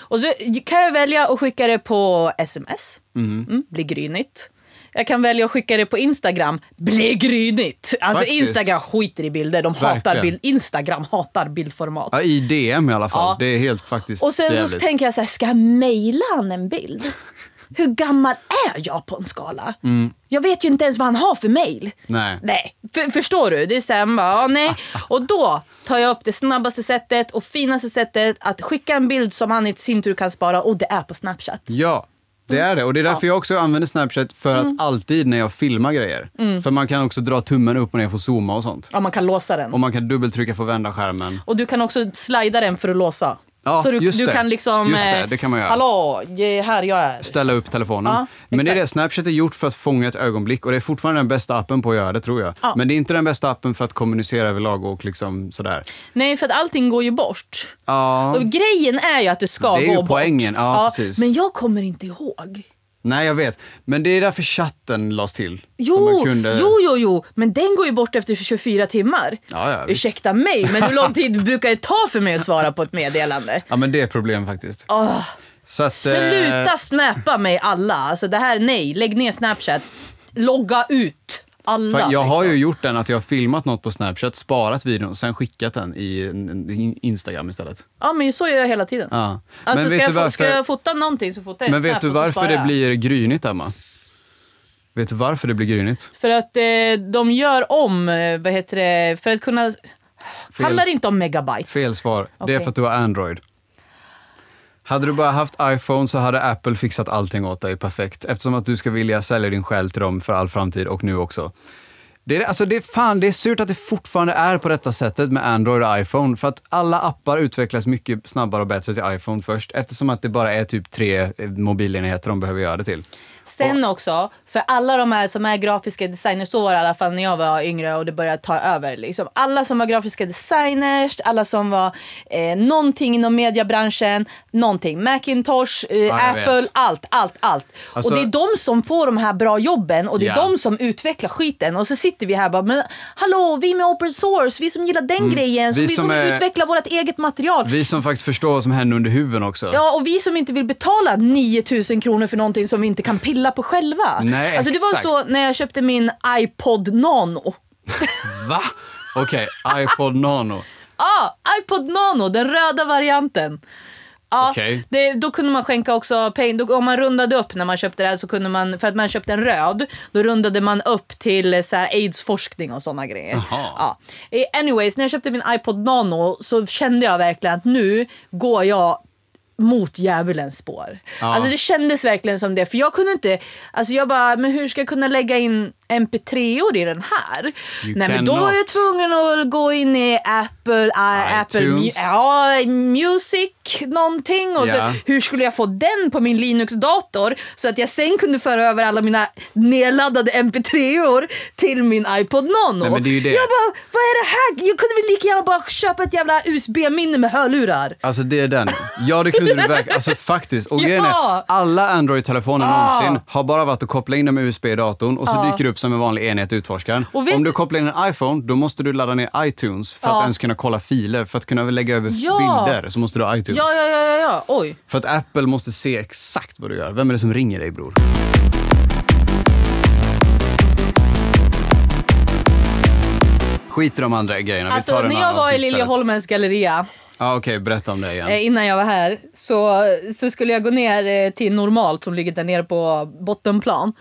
Och så kan jag välja att skicka det på sms, mm, blir grynigt. Jag kan välja att skicka det på Instagram, blir grynigt. Alltså Faktiskt. Instagram skiter i bilder, de hatar Verkligen. bild, Instagram hatar bildformat. Ja, I DM i alla fall. Ja. Det är helt faktiskt Och sen så jävligt. tänker jag så här, ska jag mejla han en bild? Hur gammal är jag på en skala? Jag vet ju inte ens vad han har för mejl. Mm. Nej. Nej. För, förstår du? Det är så här, man bara, ja, nej. Och då tar jag upp det snabbaste sättet och finaste sättet att skicka en bild som han i sin tur kan spara och det är på Snapchat. Mm. Ja, det är det. Och det är därför jag också använder Snapchat för att alltid när jag filmar grejer. Mm. För man kan också dra tummen upp och ner för att zooma och sånt. Ja, man kan låsa den. Och man kan dubbeltrycka för att vända skärmen. Och du kan också slida den för att låsa. Ja, så du, just du det. kan liksom... Just det, eh, det kan man göra. Hallå, eh, här jag är. Ställa upp telefonen. Ja, Men det är exakt. det, Snapchat är gjort för att fånga ett ögonblick och det är fortfarande den bästa appen på att göra det tror jag. Ja. Men det är inte den bästa appen för att kommunicera överlag och liksom sådär. Nej, för att allting går ju bort. Ja. Och grejen är ju att det ska Det är gå ju bort. poängen, ja, precis. Men jag kommer inte ihåg. Nej, jag vet. Men det är därför chatten lades till. Så Jo, man kunde... jo, jo, jo, men den går ju bort efter 24 timmar. Ja, ja, visst. Ursäkta mig, men hur lång tid brukar det ta för mig att svara på ett meddelande? Ja, men det är ett problem faktiskt. Åh, Så att, eh, sluta snappa mig alla. Alltså det här, nej. Lägg ner Snapchat. Logga ut alla. För jag har liksom. ju gjort den att jag har filmat något på Snapchat, sparat videon och sen skickat den i en- en- i Instagram istället. Ja, men så gör jag hela tiden. Ja. Alltså, men ska, vet, jag du fo- varför, ska jag fota någonting så fotar jag men Snap vet du och så varför sparar det jag. blir grynigt, Emma? Vet du varför det blir grynigt? För att eh, de gör om, eh, vad heter det, för att kunna... Fel- Handlar det inte om megabyte? Fel svar. Det är Okej. för att du har Android. Hade du bara haft iPhone så hade Apple fixat allting åt dig perfekt. Eftersom att du ska vilja sälja din själ till dem för all framtid och nu också. Det är, alltså det, är fan, det är surt att det fortfarande är på detta sättet med Android och iPhone. För att alla appar utvecklas mycket snabbare och bättre till iPhone först. Eftersom att det bara är typ tre eh, mobilenheter de behöver göra det till. Sen också, för alla de här som är grafiska designers, så var det i alla fall när jag var yngre och det började ta över. Liksom. Alla som var grafiska designers, alla som var eh, någonting inom mediebranschen, någonting. Macintosh, eh, jag vet. Apple, allt, allt, allt. Alltså- och det är de som får de här bra jobben och det är Ja. de som utvecklar skiten. Och så sitter vi här bara, men hallå, vi med open source, vi som gillar den grejen, som Mm. Vi vi som, som är- utvecklar vårt eget material. Vi som faktiskt förstår vad som händer under huven också. Ja, och vi som inte vill betala 9000 kronor för någonting som vi inte kan pilla på själva. Nej, alltså, det exakt. var så när jag köpte min iPod Nano. Va? Okej, iPod Nano. Ja, ah, iPod Nano, den röda varianten. Ja, Okej. det, då kunde man skänka också pengar. Då- Om man rundade upp när man köpte det här så kunde man, för att man köpte en röd, då rundade man upp till eh, så här, aidsforskning och sådana grejer. Jaha. Ja. Eh, Anyways, när jag köpte min iPod Nano så kände jag verkligen att nu går jag mot djävulens spår. Ja. Alltså det kändes verkligen som det. För jag kunde inte, alltså jag bara, men hur ska jag kunna lägga in mp3or i den här? You Nej men då var cannot. jag tvungen att gå in i Apple, I, Apple Mu- iTunes. ja, Music någonting. Och Ja. så, hur skulle jag få den på min Linux-dator så att jag sen kunde föra över alla mina nedladdade mp3or till min iPod Nano? Nej, men det är ju det. Jag bara, vad är det här? Jag kunde väl lika gärna bara köpa ett jävla USB-minne med hörlurar. Alltså det är den. Ja det kunde du verkligen. Alltså faktiskt. Och grejen är, Ja. alla Android-telefoner Ja. någonsin har bara varit att koppla in dem med USB-datorn och så Ja. dyker det upp som en vanlig enhet i utforskaren. Och vet- Om du kopplar in en iPhone, då måste du ladda ner iTunes för att Ja. ens kunna kolla filer. För att kunna lägga över Ja. bilder så måste du ha iTunes. Ja, ja, ja, ja, ja. oj. För att Apple måste se exakt vad du gör. Vem är det som ringer dig bror? Skit i de andra grejerna. Vi Alltså tar en när jag annan var i istället. Liljeholmens galleria Ja, Okej, berätta om det igen. eh, innan jag var här så, så skulle jag gå ner eh, till normalt som ligger där nere på bottenplan.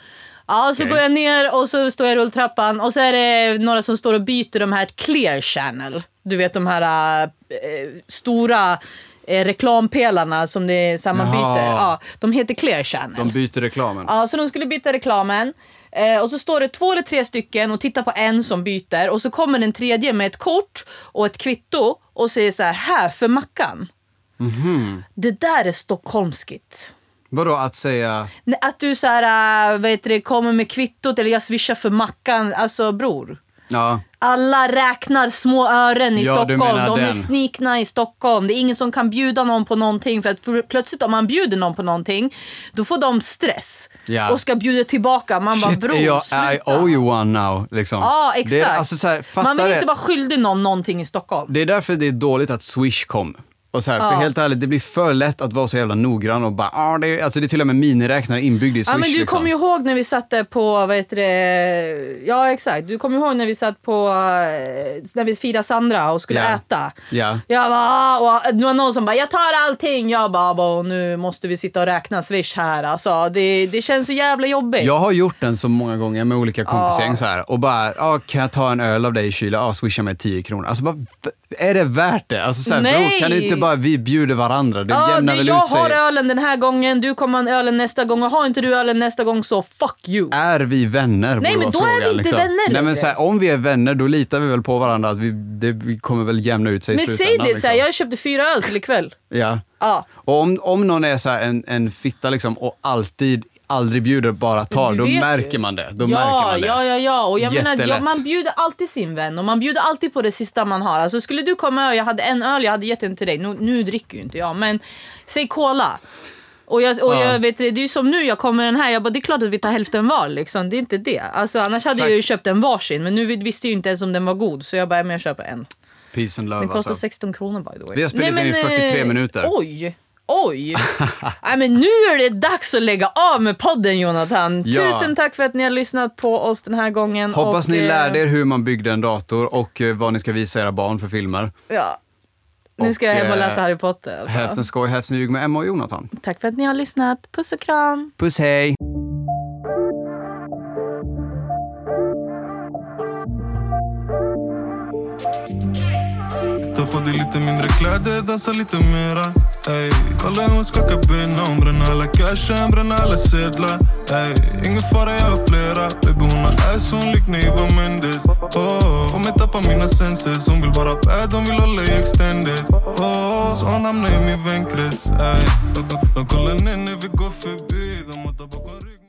Ja, så Okej. går jag ner och så står jag i rulltrappan och så är det några som står och byter de här clear channel. Du vet de här eh, stora eh, reklampelarna som det är samma Jaha. byter. Ja, de heter clear channel. De byter reklamen. Ja, så de skulle byta reklamen. Eh, och så står det två eller tre stycken och tittar på en som byter och så kommer den tredje med ett kort och ett kvitto och säger så här, här för Mackan. Det där är stockholmskigt. Vadå att säga? Nej, Att du så här, äh, vad heter det, kommer med kvittot eller jag swishar för Mackan. Alltså bror. Ja, Alla räknar små ören i Ja, du Stockholm. menar De är den. snikna i Stockholm. Det är ingen som kan bjuda någon på någonting. För att för, plötsligt om man bjuder någon på någonting, då får de stress. Ja. Och ska bjuda tillbaka. Man bara, shit, bror, är jag, sluta. I owe you one now. Liksom. Ja, exakt. Det är, alltså, så här, fatta man vill det. inte vara skyldig någon någonting i Stockholm. det är därför det är dåligt att Swish kom. Och så här, Ja. För helt ärligt, det blir för lätt att vara så jävla noggrann och bara, ah, det, är, alltså, det är till och med miniräknare inbyggd i Swish. Ja, men du liksom. kommer ju ihåg när vi satt där på, vad heter det, ja exakt. Du kommer ihåg när vi satt på, eh, när vi firade Sandra och skulle Ja. äta. Ja. Jag bara, "Ah", och det var någon som bara, jag tar allting. Jag bara, "Abo, nu måste vi sitta och räkna swish här. Alltså, det, det känns så jävla jobbigt. Jag har gjort den så många gånger med olika kompisgäng så här, och bara, ah, kan jag ta en öl av dig i kylen? Ah, swisha mig 10 kronor. Alltså, bara, v- är det värt det? Alltså, så här, Nej. bror, kan ni inte bara, vi bjuder varandra? Det Ja, jämnar du, väl jag ut sig? har ölen den här gången, du kommer ha en ölen nästa gång och har inte du ölen nästa gång så fuck you. Är vi vänner? borde men vara då är vi frågan, liksom. inte vänner Nej, längre. men så här, om vi är vänner, då litar vi väl på varandra. Att vi, det vi kommer väl jämna ut sig i Men säg slutändan. det, så här, liksom. jag köpte fyra öl till ikväll. Ja. Ja. Och om, om någon är så här en, en fitta liksom, och alltid, aldrig bjuder, bara tar, Du då vet ju. märker man det. Då märker Ja, man det. ja, ja, ja. Och jag menar, ja, Jättelätt. man bjuder alltid sin vän och man bjuder alltid på det sista man har. Alltså skulle du komma och jag hade en öl, jag hade gett den till dig. Nu, nu dricker ju inte jag, men säg cola. Och jag, och Ja. jag vet, det det är ju som nu, jag kommer den här, jag bara det är klart att vi tar hälften var liksom. Det är inte det. Alltså annars hade jag ju Exakt. köpt en varsin, men nu vid- visste jag ju inte ens om den var god. Så jag bara, men jag köper en. Peace and love. Den kostar alltså. 16 kronor by the way. Vi har spelat Nej, in i men, 43 eh, minuter. Oj! Oj! Nej, men nu är det dags att lägga av med podden Jonathan. Ja. Tusen tack för att ni har lyssnat på oss den här gången. Hoppas och, ni eh, lärde er hur man byggde en dator och eh, vad ni ska visa era barn för filmer. Ja. Nu ska Och, jag hem och eh, läsa Harry Potter. Alltså. Hälften skoj, hälften ljug med Emma och Jonathan. Tack för att ni har lyssnat. Puss och kram! Puss hej! Ta på dig lite mindre kläder, dansa lite mera ey. Kolla hur hon skakar benen, hon bränner alla cashen, bränner alla sedlar ey. Ingen fara, jag har flera Baby hon har ass, hon liknar Eva Mendes oh. Får mig tappa mina senses, hon vill vara bad, hon vill hålla i extended oh. Så hon hamnar i min vänkrets ey. De, de, de kollar ner när vi går förbi, de har tappat ryggen